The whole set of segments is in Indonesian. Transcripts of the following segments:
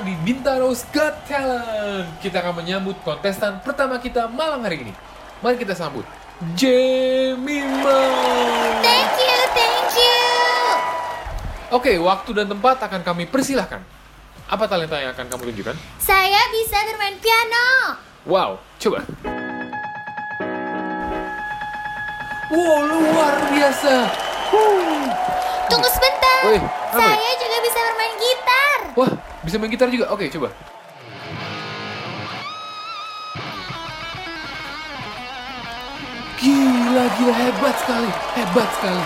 Kintaro's Got Talent. Kita akan menyambut kontestan pertama kita malam hari ini. Mari kita sambut Jemima. Thank you, thank you. Oke, waktu dan tempat akan kami persilahkan. Apa talenta yang akan kamu tunjukkan? Saya bisa bermain piano. Wow, coba. Wow, luar biasa. Huh. Tunggu sebentar. Hmm. Wih, apa ya? Saya juga bisa bermain gitar. Wah, bisa main gitar juga. Oke, coba. Gila, gila hebat sekali, hebat sekali.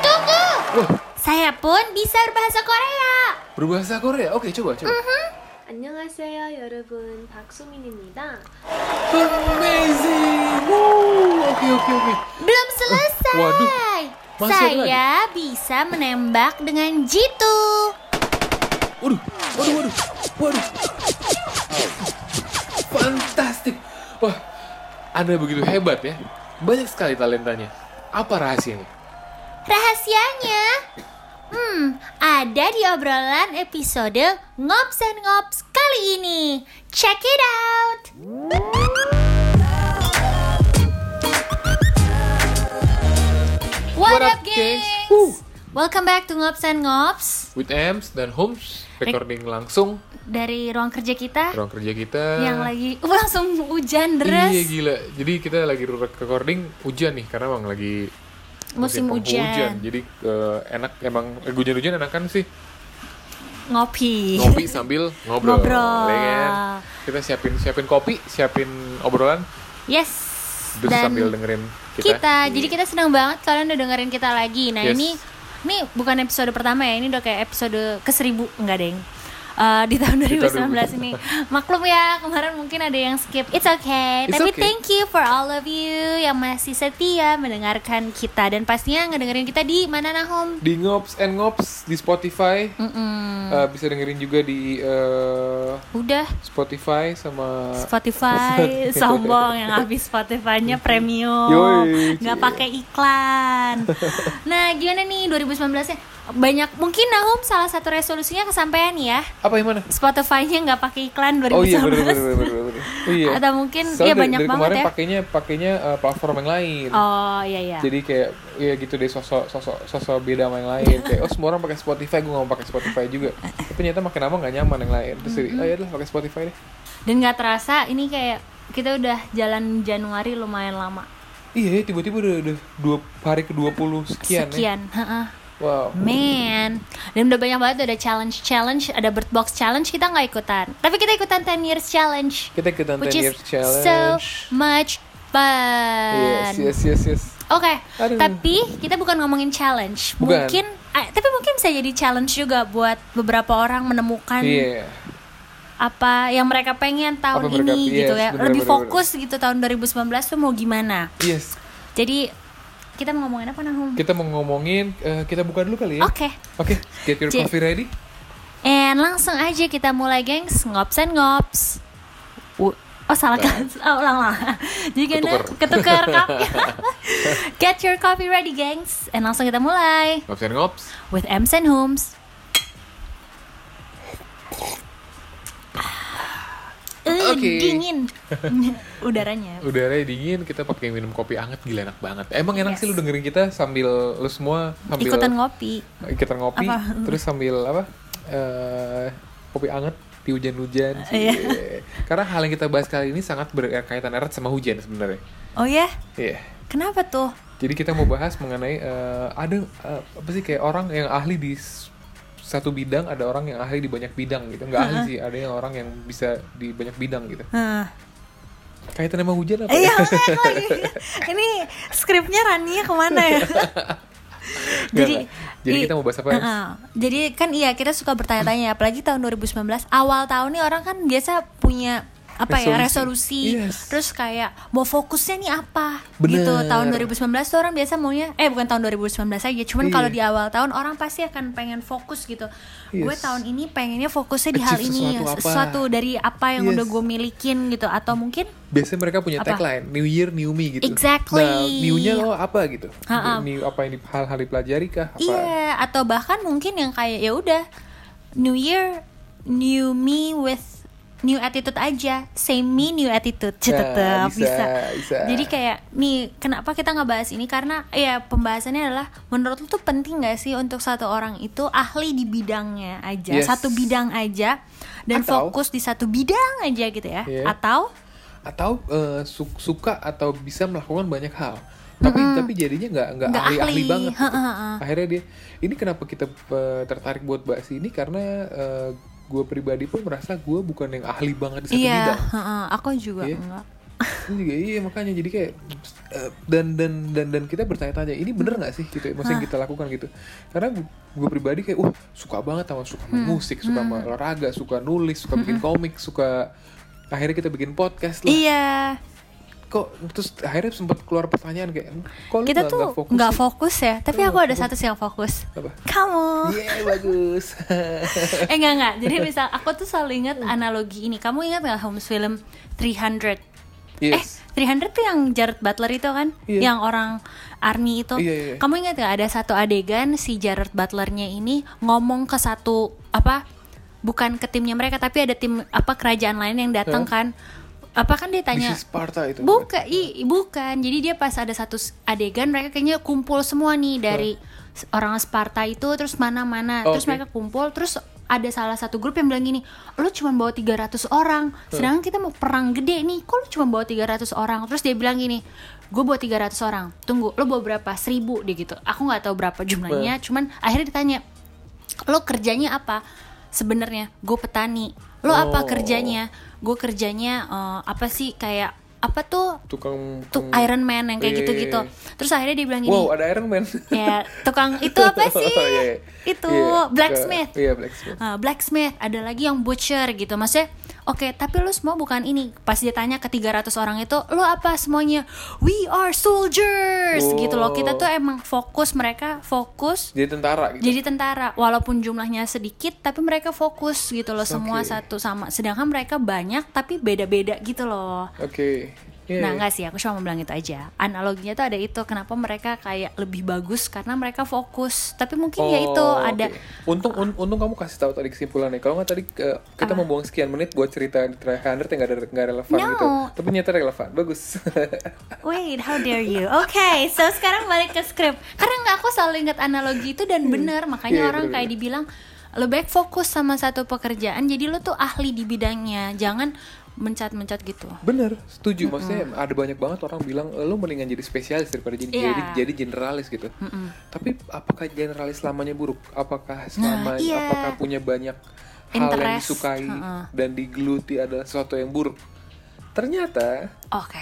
Tunggu. Wah, Saya pun bisa berbahasa Korea. berbahasa Korea. Oke, coba, coba. 안녕하세요 여러분 박수민입니다. Amazing. Woo, Oke, oke, oke. Belum selesai. waduh. Masih ada Saya bisa menembak dengan jitu. Waduh, waduh, waduh, waduh. Fantastik. Wah, Anda begitu hebat ya. Banyak sekali talentanya. Apa rahasianya? Rahasianya? Hmm, ada di obrolan episode Ngops and Ngops kali ini. Check it out! What, up, gengs? Woo. Welcome back to Ngops and Ngops With Ems dan Homes, recording langsung dari ruang kerja kita ruang kerja kita. yang lagi uh, langsung hujan Iya deras. gila. Jadi kita lagi recording hujan nih karena emang lagi Musim hujan. penghujan. Jadi eh, enak emang eh, hujan-hujan enak kan sih Ngopi. ngopi sambil ngobrol. Iya. Ngobrol. ya kan? Kita siapin siapin kopi, siapin obrolan Yes. terus sambil dengerin kita. kita. Jadi kita senang banget kalian udah dengerin kita lagi. Nah Yes. ini ini bukan episode pertama ya, ini udah kayak episode ke seribu enggak deng. Eh, di tahun Di tahun 2019 ini maklum ya kemarin mungkin ada yang skip it's okay It's tapi okay. thank you for all of you yang masih setia mendengarkan kita dan pastinya ngedengerin kita di mana Nahum di Ngops and Ngops di Spotify. Hmm. Eh, bisa dengerin juga di eh, udah Spotify sama Spotify sombong yang habis Spotify-nya premium Yoi. nggak pakai iklan nah gimana nih 2019 nya banyak mungkin Nahum salah satu resolusinya kesampaian ya apa yang mana? Spotify-nya nggak pakai iklan 2019 Oh iya benar benar benar benar. Oh, iya. Atau mungkin, Soalnya iya, dari- banyak dari banget kemarin ya. pakainya pakainya eh, platform yang lain. Oh, iya iya Jadi kayak ya gitu deh sosok sosok sosok beda sama yang lain. kayak oh semua orang pakai Spotify, gue nggak mau pakai Spotify juga. Tapi ternyata makin lama nggak nyaman yang lain. Terus jadi, oh ya pakai Spotify deh. dan nggak terasa ini kayak kita udah jalan Januari lumayan lama Iya, ya, tiba-tiba udah, udah dua hari ke 20 sekian, ya. sekian heeh. Wow. Man, dan udah banyak banget ada challenge challenge, ada bird box challenge kita nggak ikutan, tapi kita ikutan 10 years challenge. Kita ikutan 10 which is years challenge. so much fun. Yes, yes, yes, yes. Oke, Aduh. tapi kita bukan ngomongin challenge. Bukan. Mungkin, eh, tapi mungkin bisa jadi challenge juga buat beberapa orang menemukan Iya. apa yang mereka pengen tahun Apa mereka- ini yes, gitu ya. bener, Lebih bener, fokus gitu tahun 2019 tuh mau gimana. Yes. Jadi kita mau ngomongin apa Nahum? Oke. Kita mau ngomongin eh, kita buka dulu kali ya. Oke, get your J- coffee ready. And langsung aja kita mulai gengs Ngops and ngops W- Oh salah Nah. kan? Oh, ulang ulang Jadi gimana? Ketukar kopi Get your coffee ready gengs And langsung kita mulai Ngops and ngops. With Ems and Homes Uh, Ah. Oke. dingin udaranya Udaranya dingin, kita pakai minum kopi anget gila enak banget. Emang enak Yes. sih lu dengerin kita sambil lu semua sambil ikutan ngopi ikutan ngopi, Apa? terus sambil apa? eh, kopi anget di hujan-hujan. Iya. Cie. Karena hal yang kita bahas kali ini sangat berkaitan erat sama hujan sebenarnya. oh ya Iya. kenapa tuh Jadi kita mau bahas mengenai eh, ada eh, apa sih kayak orang yang ahli di s- satu bidang, ada orang yang ahli di banyak bidang gitu. Enggak ahli sih, ada yang orang yang bisa di banyak bidang gitu. Hah. Kaitan sama hujan apa? Eh, ya? Iya makanya aku lagi ini skripnya Rania kemana ya? jadi Jadi i- kita mau bahas apa, ya? Ems? Heeh. Jadi kan iya kita suka bertanya-tanya apalagi tahun 2019 awal tahun nih orang kan biasa punya apa ya Resolusi. resolusi Yes. terus kayak mau fokusnya nih apa Bener. gitu tahun 2019 tuh orang biasa maunya eh bukan tahun 2019 aja Iya. cuman kalau di awal tahun orang pasti akan pengen fokus gitu gue Yes. tahun ini pengennya fokusnya di hal Achieve ini sesuatu apa. sesuatu dari apa yang Yes. udah gue milikin gitu atau mungkin Biasanya mereka punya Apa? tagline New Year New Me gitu. Exactly. Nah, new-nya lo apa gitu? Ha-ha. New apa yang di- hal-hal dipelajari kah? Apa? Iya, atau bahkan mungkin yang kayak ya udah New Year new me with new attitude aja same me new attitude tetep Nah, bisa. bisa. jadi kayak nih kenapa kita ngebahas ini karena ya pembahasannya adalah menurut lu tuh penting gak sih untuk satu orang itu ahli di bidangnya aja Yes. satu bidang aja dan Atau- fokus di satu bidang aja gitu ya Iya. atau atau eh, su- suka atau bisa melakukan banyak hal tapi tapi jadinya nggak nggak Nggak ahli ahli ahli. banget gitu. Heeh, heeh. akhirnya dia ini kenapa kita eh, tertarik buat bahas ini karena gue pribadi pun merasa gue bukan yang ahli banget di satu iya bidang heeh, aku juga Iya. enggak Ini juga iya makanya jadi kayak eh, dan dan dan dan kita bertanya-tanya ini bener nggak sih gitu ya, maksudnya yang kita lakukan gitu karena gue pribadi kayak wah suka banget sama suka Hmm. sama musik suka sama olahraga suka nulis suka bikin komik suka akhirnya kita bikin podcast lah iya kok terus akhirnya sempat keluar pertanyaan kayak kok lu kita nggak- tuh nggak fokus nggak sih?" fokus ya tapi aku ada satu sih yang fokus apa kamu Iya bagus Iya. eh enggak enggak jadi misal aku tuh selalu ingat Hmm. analogi ini kamu ingat nggak Holmes film 300 yes Eh, 300 tuh yang Jared Butler itu kan, Iya. yang orang army itu. Iya, iya. Kamu ingat gak ada satu adegan si Jared Butlernya ini ngomong ke satu apa? Bukan ke timnya mereka, tapi ada tim apa kerajaan lain yang datang Hah? kan? Apa kan dia Mrs. tanya? Sparta itu Bukan, i, bukan. Jadi dia pas ada satu s- adegan mereka kayaknya kumpul semua nih dari s- orang Sparta itu terus mana-mana. Oh, terus oke. mereka kumpul terus ada salah satu grup yang bilang gini, "Lu cuma bawa 300 orang, sedangkan kita mau perang gede nih. Kok lu cuma bawa 300 orang?" Terus dia bilang gini, "Gue bawa 300 orang. Tunggu, lu bawa berapa? 1000 dia gitu. Aku nggak tahu berapa jumlahnya, cuman akhirnya ditanya, "Lu kerjanya apa?" Sebenarnya gue petani. Lo Oh. apa kerjanya? Gue kerjanya eh, apa sih kayak apa tuh tukang tuh tukang- Iron Man yang kayak Iya, gitu-gitu. iya, iya. Terus akhirnya dia bilang gini, wow ada Iron Man ya tukang itu apa sih? Oh, iya, iya. Itu Iya, blacksmith. iya blacksmith Ah, blacksmith, ada lagi yang butcher gitu. Maksudnya, oke, tapi lu semua bukan ini. Pas dia tanya ke 300 orang itu, lu apa semuanya? We are soldiers Wow. gitu loh. Oh. Kita tuh emang fokus mereka fokus jadi tentara gitu jadi tentara walaupun jumlahnya sedikit tapi mereka fokus gitu loh semua Oke. satu sama sedangkan mereka banyak tapi beda-beda gitu loh oke Iya, iya. Nah enggak sih, aku cuma mau bilang itu aja Analoginya tuh ada itu, kenapa mereka kayak lebih bagus Karena mereka fokus Tapi mungkin ya itu Oh, ada oke. Untung un- untung kamu kasih tahu tadi kesimpulannya. Kalau nggak tadi eh, kita membuang sekian menit buat cerita di terakhir yang nggak ada nggak relevan No. gitu. Tapi nyata relevan. Bagus. Wait, how dare you Oke, so sekarang balik ke skrip Karena nggak aku selalu ingat analogi itu dan bener Makanya Iya, orang bener-bener. kayak dibilang Lo baik fokus sama satu pekerjaan Jadi lo tuh ahli di bidangnya Jangan mencat-mencat gitu Bener, setuju. Maksudnya ada banyak banget orang bilang "Eh, lo mendingan jadi spesialis daripada jadi Iya. jadi, jadi generalis gitu. Tapi apakah generalis selamanya buruk? Apakah selama iya. apakah punya banyak hal yang Interest. disukai Mm-mm. dan digeluti adalah sesuatu yang buruk? Ternyata Oke,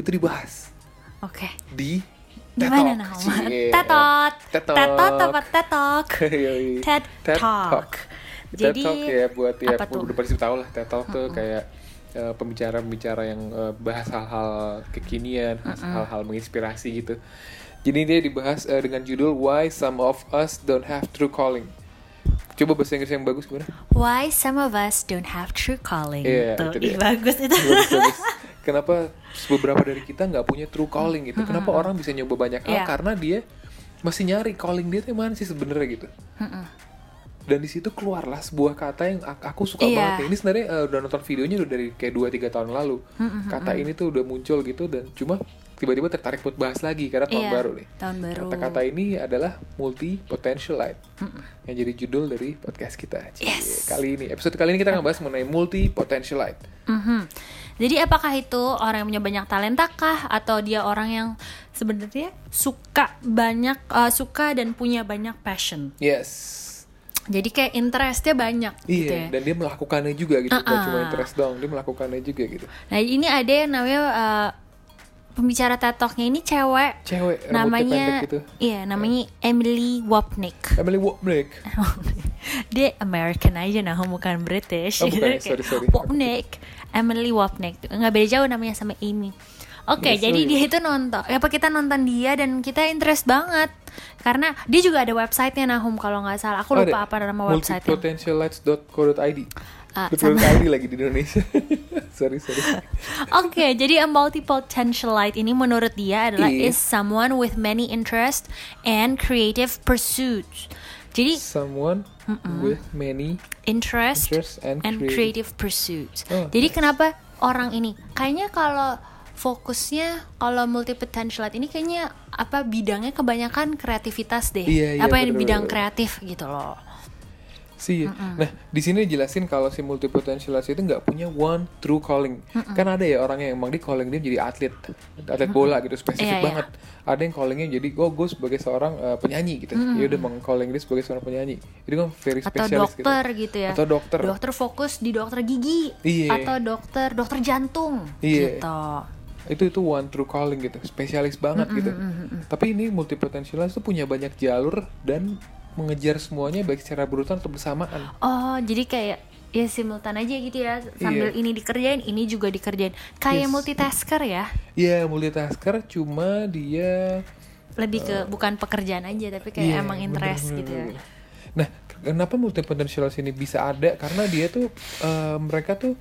itu dibahas oke di TED Gimana nah? Talks. Cie. Tetot TED Talk. Tetot apa tetok? Yoi. TED Talk. TED Jadi, Talk ya buat ya apa tuh? Uh-uh. udah pasti tahu lah TED Talk tuh kayak eh, pembicara-pembicara yang eh, bahas hal-hal kekinian, Uh-uh. hal-hal menginspirasi gitu. Jadi dia dibahas eh, dengan judul Why Some of Us Don't Have True Calling. Coba bahasa Inggris yang bagus gimana? Why some of us don't have true calling. Iya, itu Tuh, dia. ih, bagus itu. Bagus, bagus. Kenapa beberapa dari kita nggak punya true calling gitu? Kenapa orang bisa nyoba banyak hal Iya. karena dia masih nyari calling dia tuh yang mana sih sebenarnya gitu. Dan di situ keluarlah sebuah kata yang ak- aku suka Iya. banget. Ini sebenarnya eh, udah nonton videonya udah dari kayak 2 3 tahun lalu. Kata ini tuh udah muncul gitu dan cuma tiba-tiba tertarik buat bahas lagi karena tahun Iya, baru nih. Tahun baru. Kata-kata ini adalah multi potentialite yang jadi judul dari podcast kita. Cie, Yes. Kali ini episode kali ini kita ngebahas mengenai multi potentialite. Mhm. Jadi apakah itu orang yang punya banyak talenta kah atau dia orang yang sebenarnya suka banyak eh, suka dan punya banyak passion. Yes. Jadi kayak interestnya banyak Iya, gitu ya. dan dia melakukannya juga gitu, bukan Uh-uh. cuma interest dong, dia melakukannya juga gitu. Nah, ini ada yang namanya eh, pembicara tetoknya ini cewek. Cewek rambutnya pendek namanya gitu. Iya, namanya Emily Wapnick. Emily Wapnick. dia American aja nah bukan British Oh, bukan ya? Sorry, Kayak sorry. Wapnick Emily Wapnick nggak beda jauh namanya sama Amy Oke, Yes, Iya, jadi sorry. dia itu nonton, apa kita nonton dia dan kita interest banget karena dia juga ada websitenya Nahum kalau nggak Oh, salah. Aku lupa apa nama websitenya. Multipotentialites.co.id. Ah, .co.id lagi di Indonesia. sorry, sorry. Oke, jadi a multipotentialite ini menurut dia adalah Iya. is someone with many interests and creative pursuits. Jadi someone with many interest, interests and, and creative. creative pursuits. Oh, Jadi kenapa orang ini? Kayaknya kalau fokusnya kalau multi potentialite ini kayaknya apa bidangnya kebanyakan kreativitas deh. Iya, iya, apa yang bener, bidang bener. kreatif gitu loh. sih nah di sini jelasin kalau si multipotentialis itu nggak punya one true calling kan ada ya orangnya yang emang di calling dia jadi atlet atlet bola gitu spesifik Iya, iya. banget ada yang callingnya jadi oh gue sebagai seorang eh, penyanyi gitu ya udah meng calling dia sebagai seorang penyanyi itu kan very Atau spesialis gitu dokter gitu, ya. atau dokter Dokter fokus di dokter gigi Iya. atau dokter dokter jantung Iya. gitu. itu itu one true calling gitu spesialis banget gitu tapi ini multipotentialis itu punya banyak jalur dan mengejar semuanya baik secara berurutan atau bersamaan Oh, jadi kayak ya simultan aja gitu ya sambil Iya. ini dikerjain, ini juga dikerjain. Kayak Yes. multitasker ya. Iya multitasker cuma dia Lebih ke bukan pekerjaan aja tapi kayak Eh. Iya, emang bener, interest bener, gitu ya. bener. Nah, kenapa multipotentialis ini bisa ada? Karena dia tuh eh, mereka tuh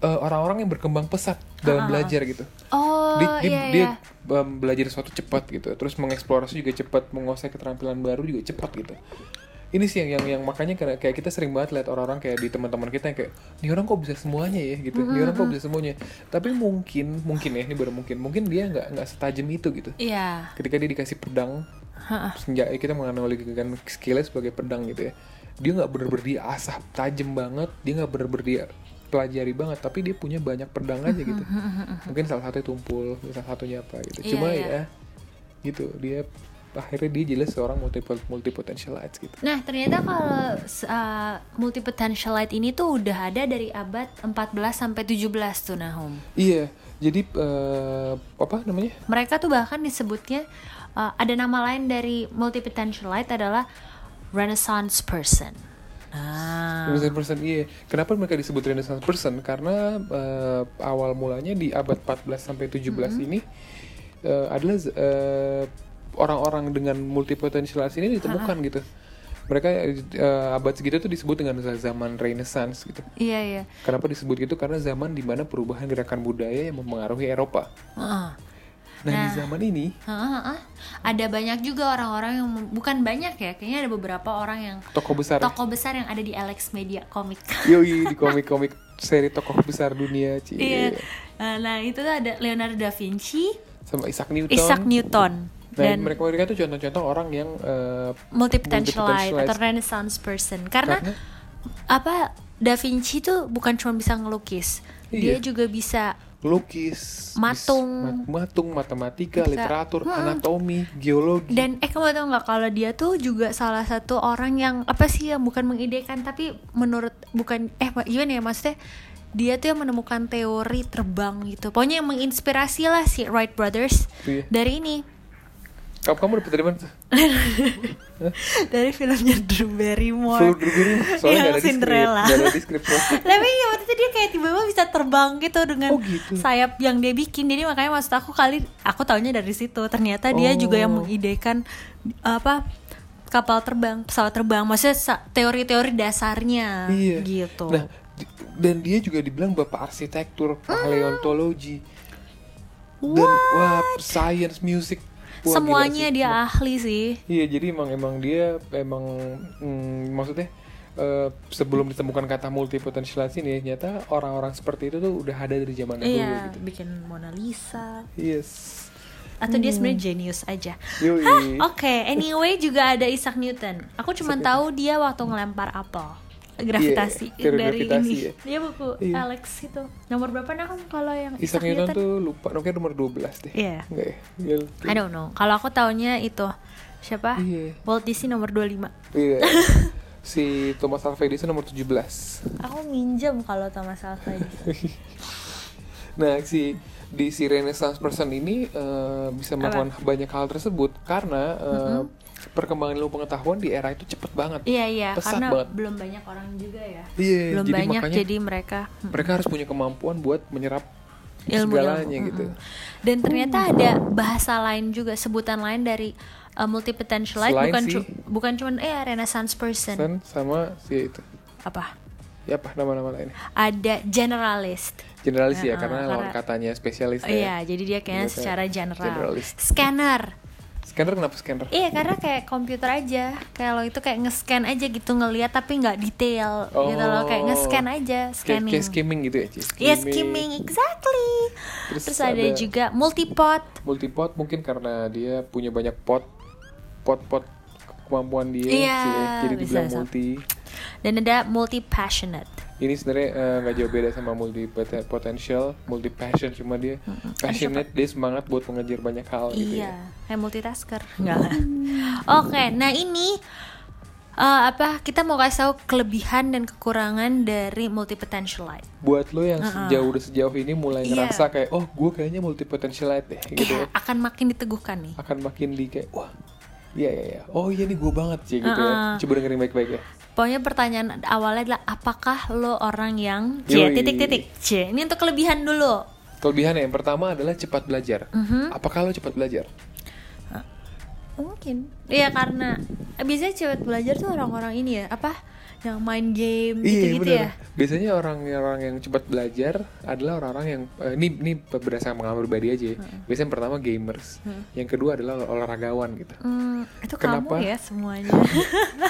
eh, orang-orang yang berkembang pesat dalam belajar gitu. Ah, Oh, Dia- dia, iya dia, iya. em, belajar sesuatu cepat gitu, terus mengeksplorasi juga cepat, menguasai keterampilan baru juga cepat gitu. Ini sih yang yang, yang makanya kayak, kayak kita sering banget lihat orang-orang kayak di teman-teman kita yang kayak, ini orang kok bisa semuanya ya gitu, ini orang Mm-hmm. kok bisa semuanya. Tapi mungkin mungkin ya ini baru mungkin, mungkin dia nggak nggak setajam itu gitu Iya. ketika dia dikasih pedang senja eh, kita menganalogikan skillnya sebagai pedang gitu ya dia nggak bener-bener dia asah tajam banget dia nggak bener-bener dia pelajari banget tapi dia punya banyak pedang aja gitu mungkin salah satunya tumpul mungkin salah satunya apa gitu Iya, cuma iya. ya gitu dia akhirnya dia jelas seorang multiple multipotentialites gitu Nah, ternyata kalau uh, multi potentialite ini tuh udah ada dari abad 14 sampai 17 tuh Nahum. iya jadi eh, apa namanya Mereka tuh bahkan disebutnya uh, ada nama lain dari multi potentialite adalah renaissance person. Nah, Renaissance person iya. Kenapa mereka disebut Renaissance person? Karena eh, awal mulanya di abad 14 sampai 17 ini eh, adalah eh, orang-orang dengan multipotentialitas ini ditemukan gitu. Mereka eh, abad segitu tuh disebut dengan zaman Renaissance gitu. iya iya. Kenapa disebut gitu? Karena zaman di mana perubahan gerakan budaya yang mempengaruhi Eropa. Heeh. Nah, di zaman ini Heeh, heeh. Ada banyak juga orang-orang yang bukan banyak ya, kayaknya ada beberapa orang yang tokoh besar tokoh besar yang ada di Alex Media Comic. yoi di komik-komik seri tokoh besar dunia cie. Iya. Nah, Nah, itu tuh ada Leonardo da Vinci, Sama Isaac Newton. Isaac Dan Newton, dan Nah, mereka mereka tuh contoh-contoh orang yang eh, multipotentialite multipotentialite. atau renaissance person. Karena, Karena- apa Da Vinci tuh bukan cuma bisa ngelukis, dia Iya. juga bisa lukis, bis- Matung. mat- matung, matematika, Bisa. literatur, anatomi, geologi. dan eh kamu tau nggak kalau dia tuh juga salah satu orang yang apa sih yang bukan mengidekan tapi menurut bukan eh ma- gimana ya maksudnya dia tuh yang menemukan teori terbang gitu pokoknya yang menginspirasi lah si Wright brothers Iya. dari ini Kamu kamu dapat dari mana? dari filmnya Drew Full Barrymore dulu soalnya nggak ada di Yang script, Iya, Cinderella. nggak ada di script. tapi ya waktu itu dia kayak tiba-tiba bisa terbang gitu dengan Oh, gitu. sayap yang dia bikin jadi makanya maksud aku kali aku taunya dari situ ternyata dia Oh. juga yang mengidekan apa kapal terbang pesawat terbang maksudnya sa- teori-teori dasarnya Iya. gitu Nah, di- dan dia juga dibilang bapak arsitektur, Mm. paleontologi, dan wah, science, music. Wah, gila semuanya sih. dia ahli sih Iya, jadi emang emang dia emang mm, maksudnya eh, sebelum ditemukan kata multipotentialis ini, nyata orang-orang seperti itu tuh udah ada dari zaman dahulu iya gitu. bikin Mona Lisa Yes. atau dia sebenarnya genius aja Yoi. Oke, anyway juga ada Isaac Newton. Aku cuma tahu dia waktu ngelempar apel gravitasi Iya, teori dari gravitasi ini. ya. Dia buku Iya. Alex itu. Nomor berapa nah kamu kalau yang Isaac Newton tuh lupa, mungkin nomor 12 deh. Iya. Enggak ya? Iya. lupa. I don't know. Kalau aku taunya itu siapa? Iya. Walt Disney nomor 25. Iya. si Thomas Alva Edison nomor 17. Aku minjem kalau Thomas Alva Edison. Nah, si di si Renaissance person ini eh, bisa melakukan banyak hal tersebut karena eh, perkembangan ilmu pengetahuan di era itu cepet banget. Mm-hmm. Iya, iya, Pesat karena banget. belum banyak orang juga ya. Iya, belum jadi banyak makanya- jadi mereka Hmm. Mereka harus punya kemampuan buat menyerap ilmu segalanya gitu. Dan ternyata ada bahasa lain juga sebutan lain dari uh, multipotentialite Selain bukan si- cu- bukan cuman eh renaissance person. Sen sama si itu. apa Ya apa nama-nama lainnya? ada generalist Generalis ya, Heeh, karena lawan Eh, karena- katanya ya. spesialis iya jadi dia Iya, kayaknya kayak secara general generalist. scanner Scanner kenapa scanner? Iya karena kayak komputer aja Kalau itu kayak nge-scan aja gitu ngelihat tapi nggak detail gitu loh Kayak nge-scan aja Oh, Kayak- scanning Kayak skimming gitu ya, Ci? Iya skimming exactly Terus Terus, ada, ada- juga multipot Multipot mungkin karena dia punya banyak pot, pot-pot kemampuan dia, Iya, Ci. ya. jadi bisa, dibilang bisa. multi. Dan ada multi passionate Ini sebenarnya eh, nggak jauh beda sama multi pot- potential, multi passion cuma dia passionate, dia semangat buat mengejar banyak hal gitu Iya ya. kayak multitasker Nggak lah. Oke nah ini eh, apa kita mau kasih tahu kelebihan dan kekurangan dari multi potentialite Buat lo yang sejauh udah sejauh ini mulai Iya. ngerasa kayak oh gue kayaknya multi potentialite deh gitu. Iya, akan makin diteguhkan nih akan makin di kayak wah iya iya iya oh iya nih gue banget sih gitu ya coba dengerin baik-baik ya Pokoknya pertanyaan awalnya adalah apakah lo orang yang C Yoi. titik-titik C. Ini untuk kelebihan dulu. kelebihan ya, yang pertama adalah cepat belajar Mhm. apakah lo cepat belajar Mungkin. Iya karena biasanya cewek belajar tuh orang-orang ini ya, apa? Yang main game gitu-gitu Iya, bener. ya. biasanya orang-orang yang cepat belajar adalah orang-orang yang eh, ini ini berdasarkan pengalaman pribadi aja ya. biasanya yang pertama gamers yang kedua adalah olah- olahragawan gitu Hmm, itu Kenapa? kamu ya semuanya.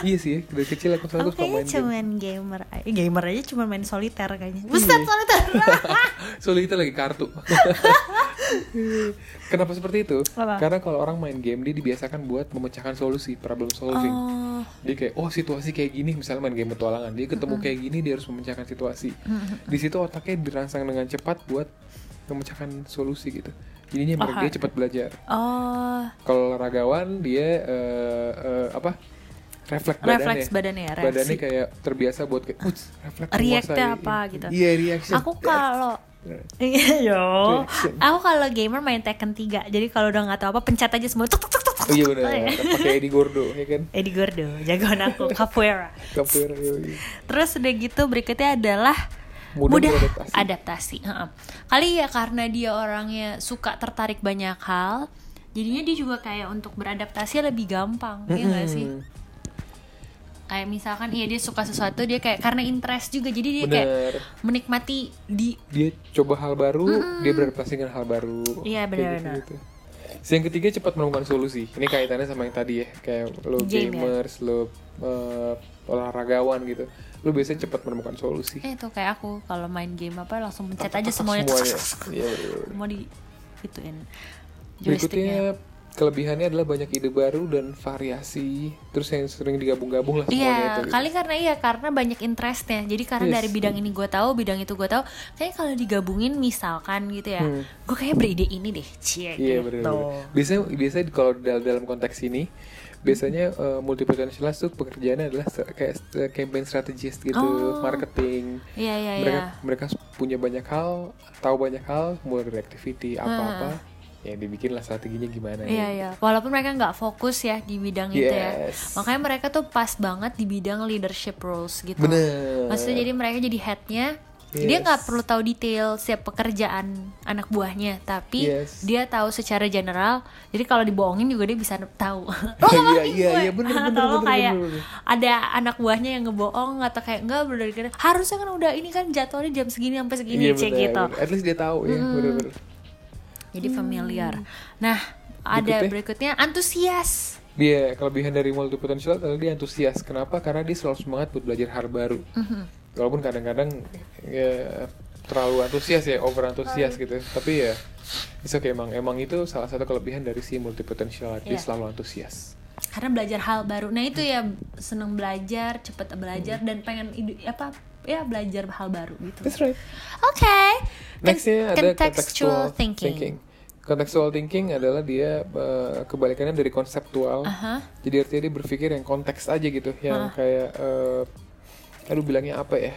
iya sih ya, dari kecil aku selalu Kamu suka kayaknya main game Iya. cuman gamer. aja. Gamer aja cuma main soliter kayaknya. Buset soliter. Soalnya itu lagi kartu Kenapa seperti itu? Apa? Karena kalau orang main game Dia dibiasakan buat memecahkan solusi Problem solving oh, dia kayak oh situasi kayak gini misalnya main game petualangan dia ketemu kayak gini dia harus memecahkan situasi di situ otaknya dirangsang dengan cepat buat memecahkan solusi gitu jadinya mereka Aha. dia cepat belajar oh, kalau ragawan dia eh, eh, apa refleks badannya refleks badannya ya, reaksi. badannya kayak terbiasa buat kayak "Uts, refleks React-nya menguasai." apa gitu. iya reaction Nah. Aku kalau Iya yo. Aku kalau gamer main Tekken 3. Jadi kalau udah nggak tahu apa pencet aja semua. Tuk, tuk, tuk, tuk, tuk. oh iya benar pakai Eddie Gordo ya kan iya, Eddie Gordo, jagoan aku capoeira. Capoeira, yoi. Terus udah gitu berikutnya adalah Mudah mudah, beradaptasi. adaptasi. heeh. Kali ya karena dia orangnya suka tertarik banyak hal, jadinya dia juga kayak untuk beradaptasi lebih gampang, iya nggak sih? Hmm, Kayak misalkan iya dia suka sesuatu dia kayak karena interest juga jadi dia Iya, kayak bener menikmati di dia coba hal baru, dia beradaptasi dengan hal baru. Iya, Kayak benar-benar. gitu-gitu. Terus Yang ketiga cepat menemukan solusi. Ini kaitannya sama yang tadi ya, kayak lo Game ya? gamers, lo eh, olahragawan gitu. Lo biasanya cepat menemukan solusi. eh itu kayak aku kalau main game apa langsung pencet aja Atas semuanya. semuanya. Iya, iya, iya. mau di ituin Berikutnya joysticknya kelebihannya adalah banyak ide baru dan variasi. Terus yang sering digabung-gabung lah semuanya Iya, itu. gitu. kali karena iya karena banyak interestnya. Jadi karena Yes. dari bidang ini gue tahu, bidang itu gue tahu. Kayaknya kalau digabungin misalkan gitu ya, gue kayak beride ini deh, cie Hmm. Iya gitu. benar. Biasanya biasanya kalau dal- dalam konteks ini biasanya eh, multi potentialist tuh pekerjaannya adalah se- kayak se- campaign strategist gitu, Oh. marketing. Iya iya mereka iya. mereka punya banyak hal, tahu banyak hal, mulai dari activity apa-apa, ya dibikin lah strateginya gimana. ya. Iya iya. Walaupun mereka nggak fokus ya di bidang itu ya. Yes. Makanya mereka tuh pas banget di bidang leadership roles gitu. Bener. Maksudnya jadi mereka jadi headnya Yes. dia nggak perlu tahu detail setiap pekerjaan anak buahnya, tapi Yes. dia tahu secara general. Jadi kalau dibohongin juga dia bisa tahu. Lo Iya, ngebohongin iya, gue. iya, bener, Atau bener, lo bener, kayak bener, bener. ada anak buahnya yang ngebohong atau kayak enggak bener bener. Harusnya kan udah ini kan jadwalnya jam segini sampai segini Iya, cek bener, gitu. bener. At least dia tahu ya, bener-bener. Jadi familiar. Nah, ada berikutnya antusias. Dia kelebihan dari multi potential adalah dia antusias. Kenapa? Karena dia selalu semangat buat belajar hal baru. Mm-hmm. Walaupun kadang-kadang ya, terlalu antusias ya, over Iya. antusias gitu. Tapi ya, bisa kayak emang emang itu salah satu kelebihan dari si multi potential dia Iya. selalu antusias. karena belajar hal baru nah itu ya seneng belajar cepet belajar Hmm. dan pengen ide- apa ya belajar hal baru gitu That's right. oke Con- Nextnya ada contextual thinking, Contextual thinking adalah dia eh, kebalikannya dari konseptual. Aha. Jadi artinya dia berpikir yang konteks aja gitu, yang kayak eh, aduh bilangnya apa ya?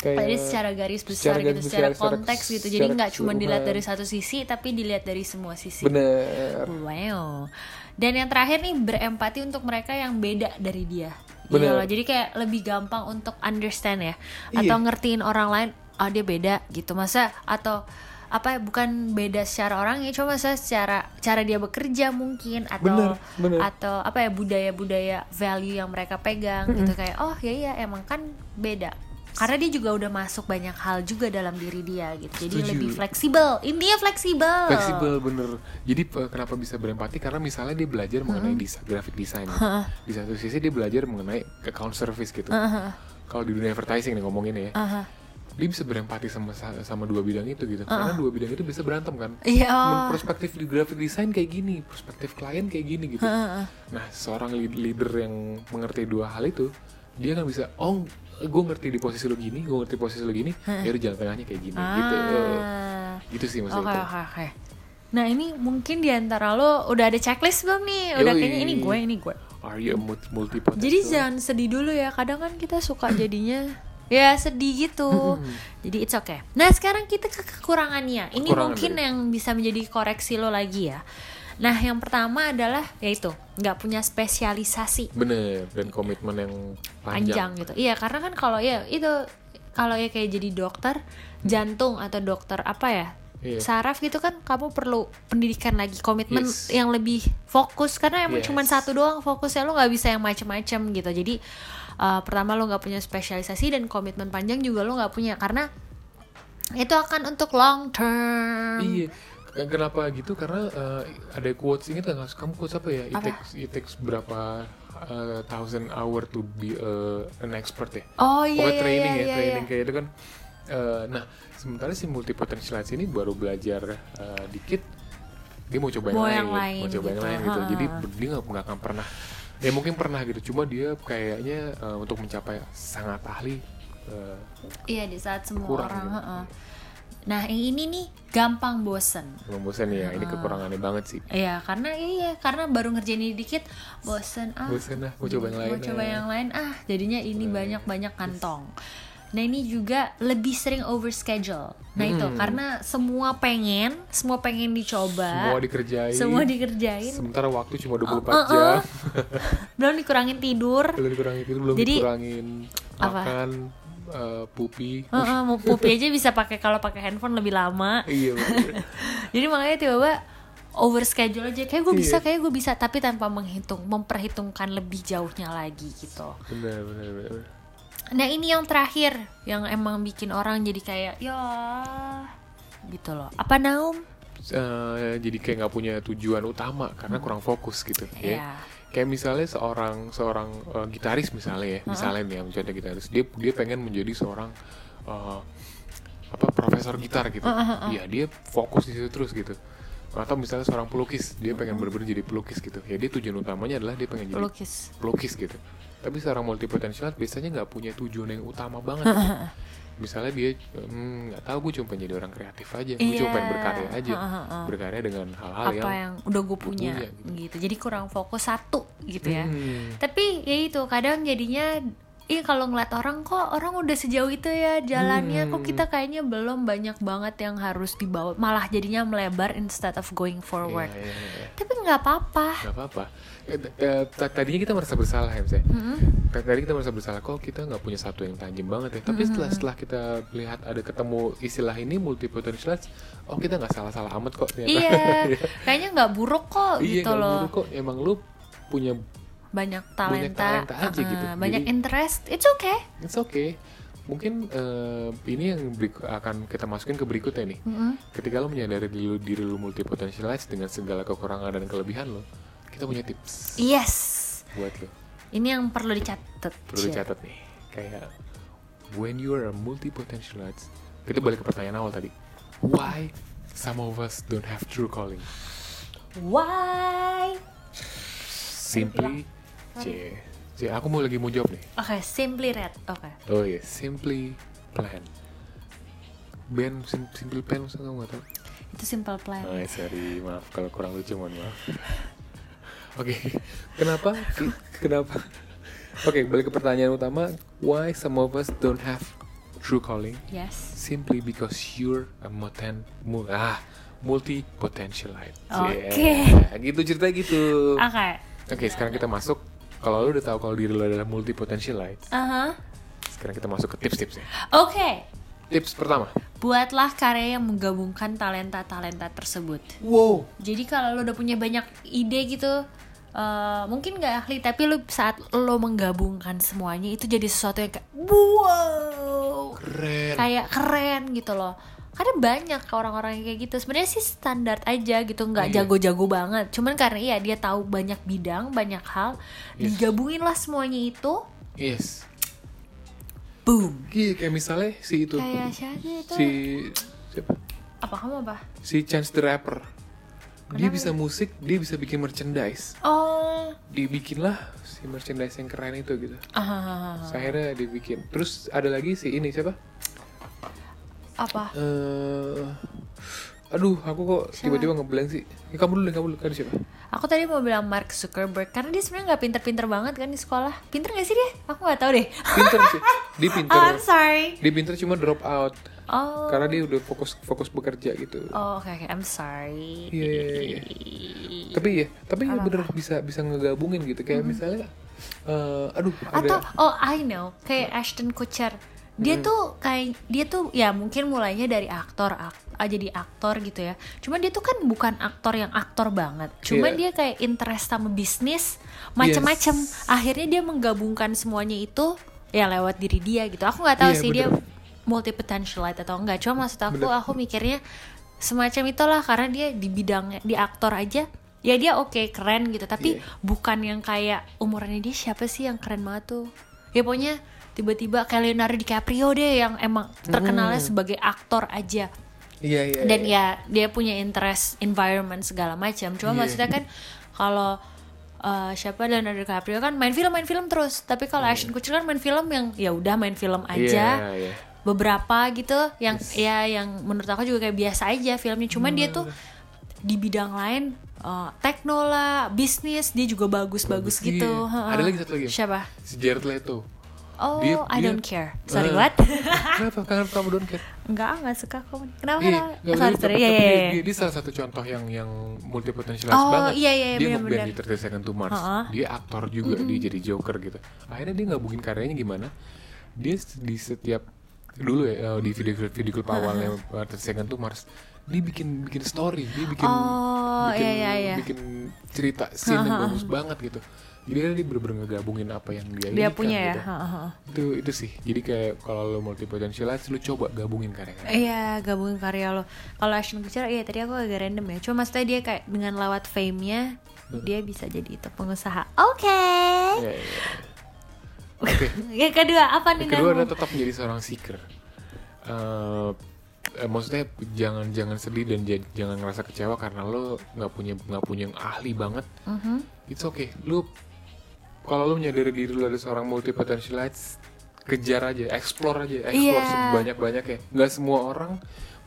Jadi secara garis besar secara garis gitu, besar, secara secara konteks kes- gitu. Jadi secara nggak cuma dilihat keseluruhan. dari satu sisi, tapi dilihat dari semua sisi. bener Wow. Dan yang terakhir nih berempati untuk mereka yang beda dari dia. Gitu Bener. loh. Jadi kayak lebih gampang untuk understand ya Iya. atau ngertiin orang lain. Oh dia beda gitu masa atau apa ya, bukan beda secara orangnya cuma masa secara cara dia bekerja mungkin atau Bener, bener. atau apa ya budaya budaya value yang mereka pegang gitu kayak oh ya iya emang kan ya, beda karena dia juga udah masuk banyak hal juga dalam diri dia gitu jadi Setuju. lebih fleksibel intinya fleksibel fleksibel bener jadi eh, kenapa bisa berempati karena misalnya dia belajar mengenai desa- graphic design gitu. di satu sisi dia belajar mengenai account service gitu kalau di dunia advertising nih ngomonginnya ya Aha. dia bisa berempati sama sama dua bidang itu gitu karena dua bidang itu bisa berantem kan Iya. Men- perspektif di graphic design kayak gini perspektif klien kayak gini gitu nah seorang lead- leader yang mengerti dua hal itu dia kan bisa oh gue ngerti di posisi lu gini gue ngerti posisi lu gini ya udah jalan tengahnya kayak gini gitu Ah. gitu sih Oke maksudnya itu. oke oke. Nah ini mungkin diantara lo udah ada checklist belum nih? Udah Yoi. gitu. kayaknya ini gue ini gue. Are you a multi potential? Jadi jangan sedih dulu ya. Kadang kan kita suka jadinya ya sedih gitu. Jadi it's okay. Nah sekarang kita ke kekurangannya. Ini Kekurangan, mungkin baik. yang bisa menjadi koreksi lo lagi ya. Nah yang pertama adalah yaitu nggak punya spesialisasi bener dan komitmen yang panjang panjang. gitu. Iya, karena kan kalau ya itu kalau ya kayak jadi dokter jantung atau dokter apa ya? Iya. Saraf gitu kan kamu perlu pendidikan lagi, komitmen Yes. yang lebih fokus karena emang Yes. cuma satu doang fokusnya lo nggak bisa yang macem-macem gitu. Jadi eh, pertama lo nggak punya spesialisasi dan komitmen panjang juga lo nggak punya karena itu akan untuk long term. Iya. K- Kenapa gitu? Karena eh, ada quotes ingat nggak kamu quotes apa ya? It Apa? takes it takes berapa eh, thousand hour to be eh, an expert ya. Oh iya Pokoknya iya training iya, ya, iya, training iya. kayak itu kan. Eh, nah, sementara si multi ini baru belajar eh, dikit, dia mau coba yang, Mau lain, yang lain mau coba yang gitu, lain gitu. ha. Jadi ber- dia nggak nggak akan pernah. Ya mungkin pernah gitu, cuma dia kayaknya eh, untuk mencapai sangat ahli eh, Iya di saat semua Kurang orang. gitu. heeh. Nah yang ini nih gampang bosen. membosan ya. Ini kekurangannya banget sih. Iya, karena iya karena baru ngerjain ini dikit bosen ah. Bosen ah, mau coba yang lain Nah, Mau coba ah. yang lain ah, jadinya ini banyak-banyak kantong. Nah, ini juga lebih sering over schedule. Nah, itu Hmm. karena semua pengen, semua pengen dicoba. Semua dikerjain. Semua dikerjain. Sementara waktu cuma 24 Uh-uh. jam. Belum dikurangin tidur. Belum dikurangin tidur, belum Jadi, dikurangin apa? Oh. makan, eh, pupi. Heeh, mau pupi aja bisa pakai kalau pakai handphone lebih lama. iya, bener. Jadi makanya tiba-tiba over schedule aja kayak gue Iya. bisa kayak gue bisa tapi tanpa menghitung memperhitungkan lebih jauhnya lagi gitu. bener, bener, bener. Nah ini yang terakhir yang emang bikin orang jadi kayak ya gitu loh. Apa Naum? Eh, jadi kayak nggak punya tujuan utama karena kurang fokus gitu Iya. ya. Kayak misalnya seorang seorang eh, gitaris misalnya ya, misalnya nih yang menjadi gitaris, dia dia pengen menjadi seorang eh, apa profesor gitar gitu. Ya dia fokus di situ terus gitu. Atau misalnya seorang pelukis, dia pengen bener-bener jadi pelukis gitu. Ya dia tujuan utamanya adalah dia pengen jadi Pelukis. pelukis gitu. Tapi seorang multi biasanya nggak punya tujuan yang utama banget. Misalnya dia hmm, nggak tahu gue cuma pengen jadi orang kreatif aja, gue cuma Iya. pengen berkarya aja, Ha, ha, ha. berkarya dengan hal-hal Apa yang yang udah gue punya, punya, gitu. Jadi kurang fokus satu gitu ya. Hmm. Tapi ya itu kadang jadinya Ih kalau ngeliat orang kok orang udah sejauh itu ya jalannya Hmm. kok kita kayaknya belum banyak banget yang harus dibawa malah jadinya melebar instead of going forward. Iya, iya, iya. Tapi nggak apa-apa. Gak apa-apa. Eh, t- eh, t- tadinya kita merasa bersalah ya, misalnya. T- Tadi kita merasa bersalah kok kita nggak punya satu yang tajam banget ya. Tapi setelah setelah kita lihat ada ketemu istilah ini multi oh kita nggak salah-salah amat kok ternyata. Iya, kayaknya nggak buruk kok Iya, gitu nggak loh. buruk kok emang lu punya banyak talenta, talenta aja eh, gitu. banyak Jadi- interest it's okay It's okay. Mungkin eh, ini yang berik- akan kita masukin ke berikutnya nih. Ketika lo menyadari diri lo, diri lo multipotentialize dengan segala kekurangan dan kelebihan lo, kita punya tips yes buat lo. ini yang perlu dicatat Perlu Cie. dicatat nih. Kayak when you are a multipotentialist, kita balik ke pertanyaan awal tadi. Why some of us don't have true calling? why Simply, c, c. Aku mau lagi mau jawab nih. oke simply red oke Oh iya, simply plan. Band sim- simple plan masa kamu nggak tahu? itu simple plan Oh, sorry, maaf kalau kurang lucu mohon maaf. Oke, kenapa? kenapa? Oke, balik ke pertanyaan utama. Why some of us don't have true calling? yes Simply because you're a moten, mu, ah, multi potentialite. Oke. Ah. Gitu cerita gitu. oke Oke, sekarang kita masuk. Kalau lu udah tahu kalau diri lu adalah multi potentialite, aha sekarang kita masuk ke tips-tipsnya. oke Tips pertama. buatlah karya yang menggabungkan talenta talenta tersebut Wow. jadi kalau lo udah punya banyak ide gitu eh, mungkin nggak ahli tapi lo saat lo menggabungkan semuanya itu jadi sesuatu yang kayak wow keren kayak keren gitu loh karena banyak orang-orang yang kayak gitu sebenarnya sih standar aja gitu nggak Iya. jago-jago banget cuman karena iya dia tahu banyak bidang banyak hal Yes. digabungin lah semuanya itu yes boom Iya, kayak misalnya si itu kayak siapa itu si siapa apa kamu apa si Chance the Rapper dia bisa musik dia bisa bikin merchandise oh dibikinlah si merchandise yang keren itu gitu ah, Terus akhirnya dibikin terus ada lagi si ini siapa apa eh aduh aku kok tiba-tiba ngeblank sih Eh, kamu dulu deh, kamu dulu kan siapa Aku tadi mau bilang Mark Zuckerberg karena dia sebenarnya nggak pinter-pinter banget kan di sekolah. Pinter nggak sih dia? Aku nggak tahu deh. pinter sih dia pinter Oh, I'm sorry. dia pinter cuma drop out Oh, karena dia udah fokus fokus bekerja gitu oh oke oke. I'm sorry. Iya, iya, iya. tapi ya tapi ya bener bisa bisa ngegabungin gitu kayak misalnya eh, aduh Mm-hmm. Atau ada Hmm. oh I know kayak Ashton Kutcher. Dia tuh kayak dia tuh ya mungkin mulainya dari aktor ak- ah, jadi aktor gitu ya. Cuman dia tuh kan bukan aktor yang aktor banget. Cuman Iya. dia kayak interest sama bisnis macem-macem. Yes. Akhirnya dia menggabungkan semuanya itu ya lewat diri dia gitu. Aku nggak tahu Iya, sih bener. dia multi potentialite atau enggak cuma maksud aku Bener. aku mikirnya semacam itulah karena dia di bidang di aktor aja ya dia oke keren gitu tapi Iya. bukan yang kayak umurnya dia siapa sih yang keren banget tuh ya pokoknya tiba-tiba kayak Leonardo DiCaprio deh yang emang terkenalnya sebagai aktor aja iya iya dan iya. ya dia punya interest environment segala macam cuma Iya. maksudnya kan kalau uh, siapa Leonardo DiCaprio kan main film main film terus tapi kalau action Ashton Kutcher kan main film yang ya udah main film aja Hmm. Iya, iya. beberapa gitu yang ya yang menurut aku juga kayak biasa aja filmnya cuman dia Hmm. tuh di bidang lain uh, tekno lah bisnis dia juga Bagus, bagus-bagus gitu iya. Heeh. Ada lagi satu lagi. siapa si Jared Leto oh Dia- I dia- don't care Eh. sorry what kenapa kangen kamu don't care nggak nggak suka kamu kenapa Iya, kenapa? nggak sorry tahu, sorry tapi- ya tapi ya, dia- ya. dia, dia salah satu contoh yang yang multi potential Oh, banget. iya, iya, dia benar, ngeband benar. di 30 Seconds to Mars. Heeh. Dia aktor juga, dia jadi Joker gitu. Akhirnya dia ngabungin karyanya gimana? Dia s- di setiap dulu ya eh, di video klip video klip awalnya eh, 30 Seconds to Mars, dia bikin bikin story, dia bikin Oh, bikin, iya, iya, iya. bikin cerita scene yang bagus banget gitu. Jadi akhirnya dia bener-bener ngegabungin apa yang dia dia inikan punya ya gitu. Heeh, heeh. Itu itu sih. Jadi kayak kalau lo multi potential lu coba gabungin karyanya. Iya gabungin karya lo. Kalau Ashton Kutcher iya tadi aku agak random ya. Cuma maksudnya dia kayak dengan lewat fame-nya dia bisa jadi itu pengusaha. Oke. Iya, iya, iya. Oke. Yang kedua apa nih Iya. Yang kedua Namu? adalah tetap menjadi seorang seeker. Eh, eh, maksudnya jangan jangan sedih dan j- jangan ngerasa kecewa karena lo nggak punya nggak punya yang ahli banget. Mhm. It's okay. Lo kalau lo menyadari diri lo ada seorang multi potentialites, kejar aja, explore aja, explore Iya. sebanyak banyaknya Nggak semua orang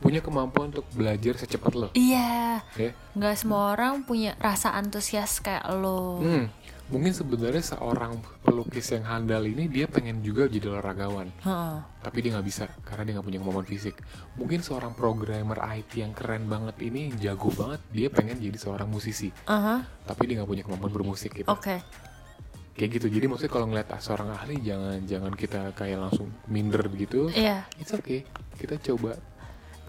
punya kemampuan untuk belajar secepat lo. Iya. Ya. Nggak semua orang punya rasa antusias kayak lo. Hmm, mungkin sebenarnya seorang pelukis yang handal ini dia pengen juga jadi olahragawan. Heeh. tapi dia nggak bisa karena dia nggak punya kemampuan fisik mungkin seorang programmer IT yang keren banget ini yang jago banget dia pengen jadi seorang musisi Aha, tapi dia nggak punya kemampuan bermusik gitu Oke. kayak gitu jadi maksudnya kalau ngeliat seorang ahli jangan jangan kita kayak langsung minder gitu Iya. it's okay kita coba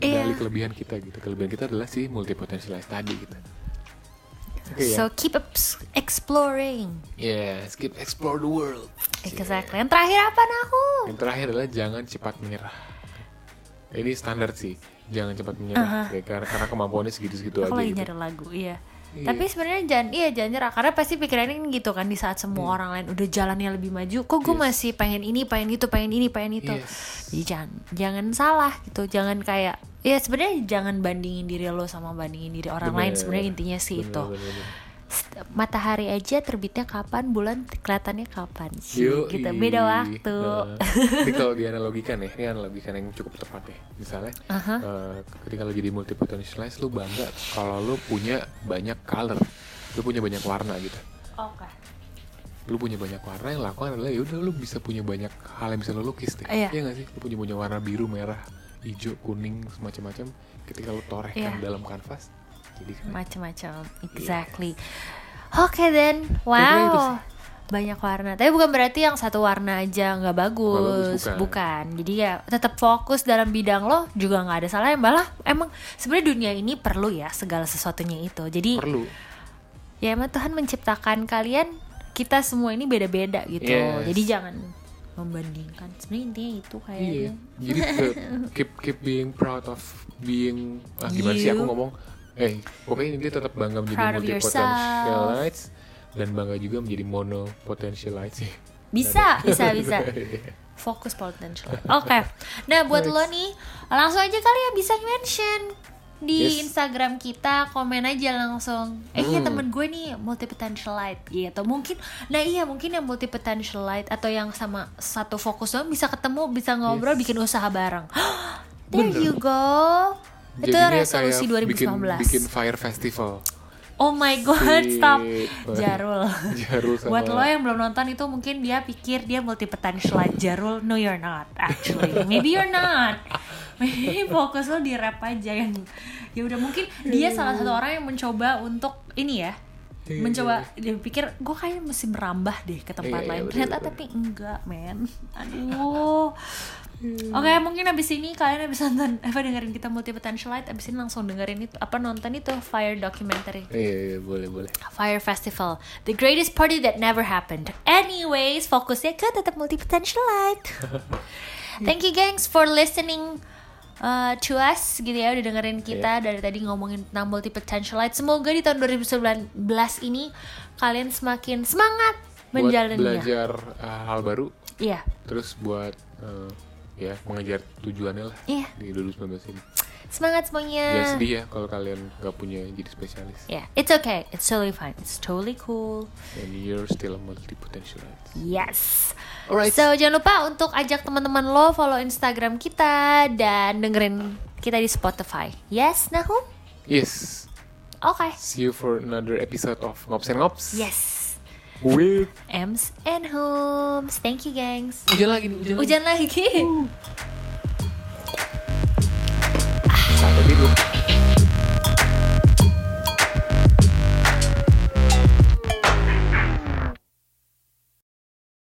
Iya. dari kelebihan kita gitu kelebihan kita adalah si multi potentialist tadi gitu oke ya So keep up exploring. yeah skip explore the world Exactly. Yang terakhir apa Nahu? Yang terakhir adalah jangan cepat menyerah. Ini standar sih, jangan cepat menyerah. Ya, karena, karena kemampuannya segitu-segitu aja. Aku lagi gitu. nyari lagu, iya. Iya. Tapi sebenarnya jangan iya jangan nyerah karena pasti pikirannya kan gitu kan di saat semua orang lain udah jalannya lebih maju, kok Iya. gue Yes. masih pengen ini, pengen itu, pengen ini, pengen itu. Yes. Jadi jangan jangan salah gitu, jangan kayak ya sebenarnya jangan bandingin diri lo sama bandingin diri orang lain Bener. sebenarnya intinya sih Bener, itu. bener, bener. St- Matahari aja terbitnya kapan, bulan kelihatannya kapan sih? Yoi. Gitu beda waktu. Nah, Jadi kalau dianalogikan ya, ini analogikan yang cukup tepat ya. Misalnya, eh, ketika lo jadi multi potentialist, lo bangga kalau lo punya banyak color, lo punya banyak warna gitu. Oke. Lo punya banyak warna yang lakukan adalah yaudah lo bisa punya banyak hal yang bisa lo lukis deh. Iya. nggak sih? Lo punya punya warna biru, merah, hijau, kuning, semacam-macam. Ketika lo torehkan Iya. dalam kanvas, jadi kan keren. macam-macam Iya. exactly oke then Kira-kira itu wow banyak warna tapi bukan berarti yang satu warna aja nggak bagus, bagus, bukan. jadi ya tetap fokus dalam bidang lo juga nggak ada salahnya malah emang sebenarnya dunia ini perlu ya segala sesuatunya itu jadi perlu ya emang Tuhan menciptakan kalian kita semua ini beda-beda gitu Yes. jadi jangan membandingkan sebenarnya intinya itu Iya. kayaknya Jadi ke- keep keep being proud of being ah, gimana sih aku You. ngomong? Eh, pokoknya ini tetap bangga Proud menjadi of multi potentialites dan bangga juga menjadi mono potentialites. bisa bisa bisa fokus potential oke nah buat lo nih langsung aja kali ya bisa mention di Yes. Instagram kita komen aja langsung eh ya Hmm. temen gue nih multi potentialite gitu mungkin nah iya mungkin yang multi potentialite atau yang sama satu fokus doang bisa ketemu bisa ngobrol bikin usaha bareng there Bener. you go itu Jadinya resolusi kayak 2019 Bikin, bikin fire festival. oh my god Si- stop Jarul Jarul sama Buat lo yang belum nonton itu mungkin dia pikir dia multi potential Jarul, no you're not actually. Maybe you're not. Maybe fokus lo di rap aja yang ya udah mungkin dia salah satu orang yang mencoba untuk ini ya Iya, mencoba dia pikir gue kayaknya mesti merambah deh ke Iya, tempat iya, lain betul, ternyata betul. tapi enggak men aduh Iya. oke mungkin abis ini kalian abis nonton apa dengerin kita multi potentialite abis ini langsung dengerin itu apa nonton itu fire documentary Iya, iya, boleh, boleh. Fire Festival, the greatest party that never happened. Anyways, fokusnya ke tetap multi potentialite. Thank you gengs for listening uh, to us gitu ya udah Iya. dengerin kita dari tadi ngomongin tentang multi potentialite. Semoga di tahun 2019 ini kalian semakin semangat Buat menjalaninya. belajar uh, hal baru, Iya. terus buat uh, ya mengejar tujuannya lah Iya. di 2019 ini. Semangat Jangan semuanya. sedih ya kalau kalian nggak punya jadi spesialis. Yeah, it's okay. It's totally fine. It's totally cool. And you're still a multi potentialite. Yes. Alright. So jangan lupa untuk ajak teman-teman lo follow Instagram kita dan dengerin kita di Spotify. Yes, Nahum? Yes. Oke. See you for another episode of Ngops and Ngops. Yes. With Ems and Homes. Thank you, gengs. hujan lagi Uh. nih, hujan lagi. Hujan lagi.